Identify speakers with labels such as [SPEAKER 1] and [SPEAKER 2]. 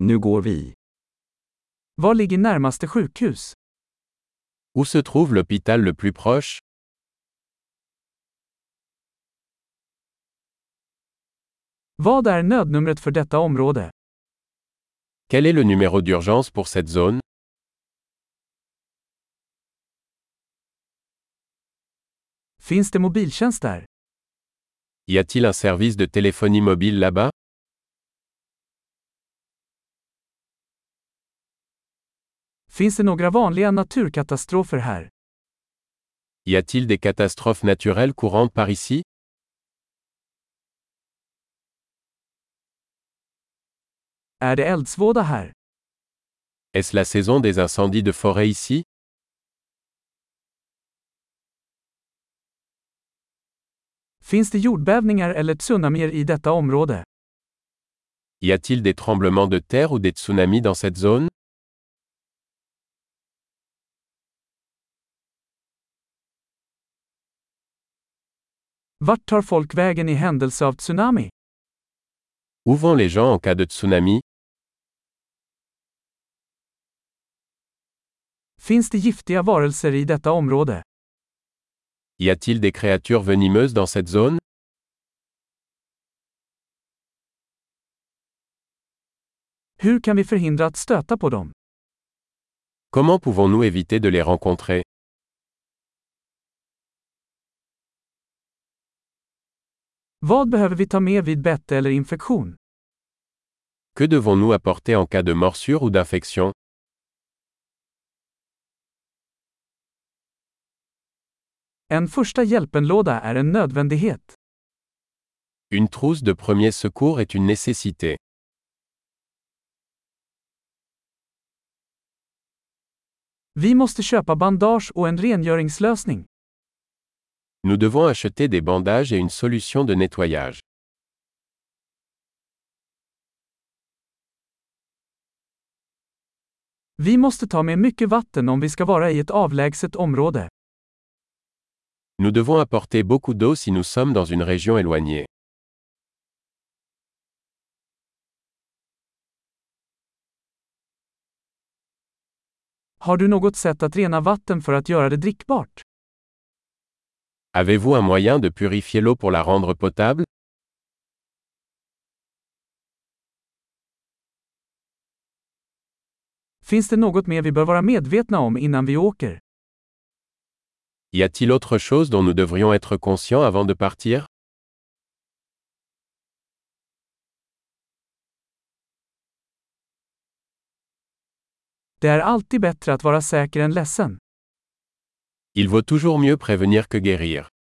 [SPEAKER 1] Nu går vi.
[SPEAKER 2] Var ligger närmaste sjukhus?
[SPEAKER 3] Où se trouve l'hôpital le plus proche
[SPEAKER 2] Vad är nödnumret för detta område?
[SPEAKER 3] Quel est le numéro d'urgence pour cette zone
[SPEAKER 2] Finns det mobiltjänst där?
[SPEAKER 3] Y a-t-il un service de téléphonie mobile là-bas
[SPEAKER 2] Finns det några vanliga naturkatastrofer här?
[SPEAKER 3] Y a-t-il des catastrophes naturelles courantes par ici
[SPEAKER 2] Är det eldsvåda här?
[SPEAKER 3] Est-ce la saison des incendies de forêt ici
[SPEAKER 2] Finns det jordbävningar eller tsunamier i detta område?
[SPEAKER 3] Y a-t-il des tremblements de terre ou des tsunamis dans cette zone
[SPEAKER 2] Vart tar folk vägen i händelse av tsunami?
[SPEAKER 3] Où vont les gens en cas de tsunami
[SPEAKER 2] Finns det giftiga varelser i detta område?
[SPEAKER 3] Y a-t-il des créatures venimeuses dans cette zone
[SPEAKER 2] Hur kan vi förhindra att stöta på dem?
[SPEAKER 3] Comment pouvons-nous éviter de les rencontrer
[SPEAKER 2] Vad behöver vi ta med vid bett eller infektion?
[SPEAKER 3] Que devons-nous apporter en cas de morsure ou d'infection
[SPEAKER 2] En första hjälpenlåda är en nödvändighet.
[SPEAKER 3] Une trousse de premier secours est une nécessité.
[SPEAKER 2] Vi måste köpa bandage och en rengöringslösning.
[SPEAKER 3] Nous devons acheter des bandages et une solution de nettoyage.
[SPEAKER 2] Vi måste ta med mycket vatten om vi ska vara i ett avlägset område.
[SPEAKER 3] Nous devons apporter beaucoup d'eau si nous sommes dans une région éloignée.
[SPEAKER 2] Har du något sätt att rena vatten för att göra det drickbart?
[SPEAKER 3] Avez-vous un moyen de purifier l'eau pour la rendre potable
[SPEAKER 2] Finns det något mer vi bör vara medvetna om innan vi åker?
[SPEAKER 3] Y a-t-il autre chose dont nous devrions être conscients avant de partir
[SPEAKER 2] Det är alltid bättre att vara säker än ledsen.
[SPEAKER 3] Il vaut toujours mieux prévenir que guérir.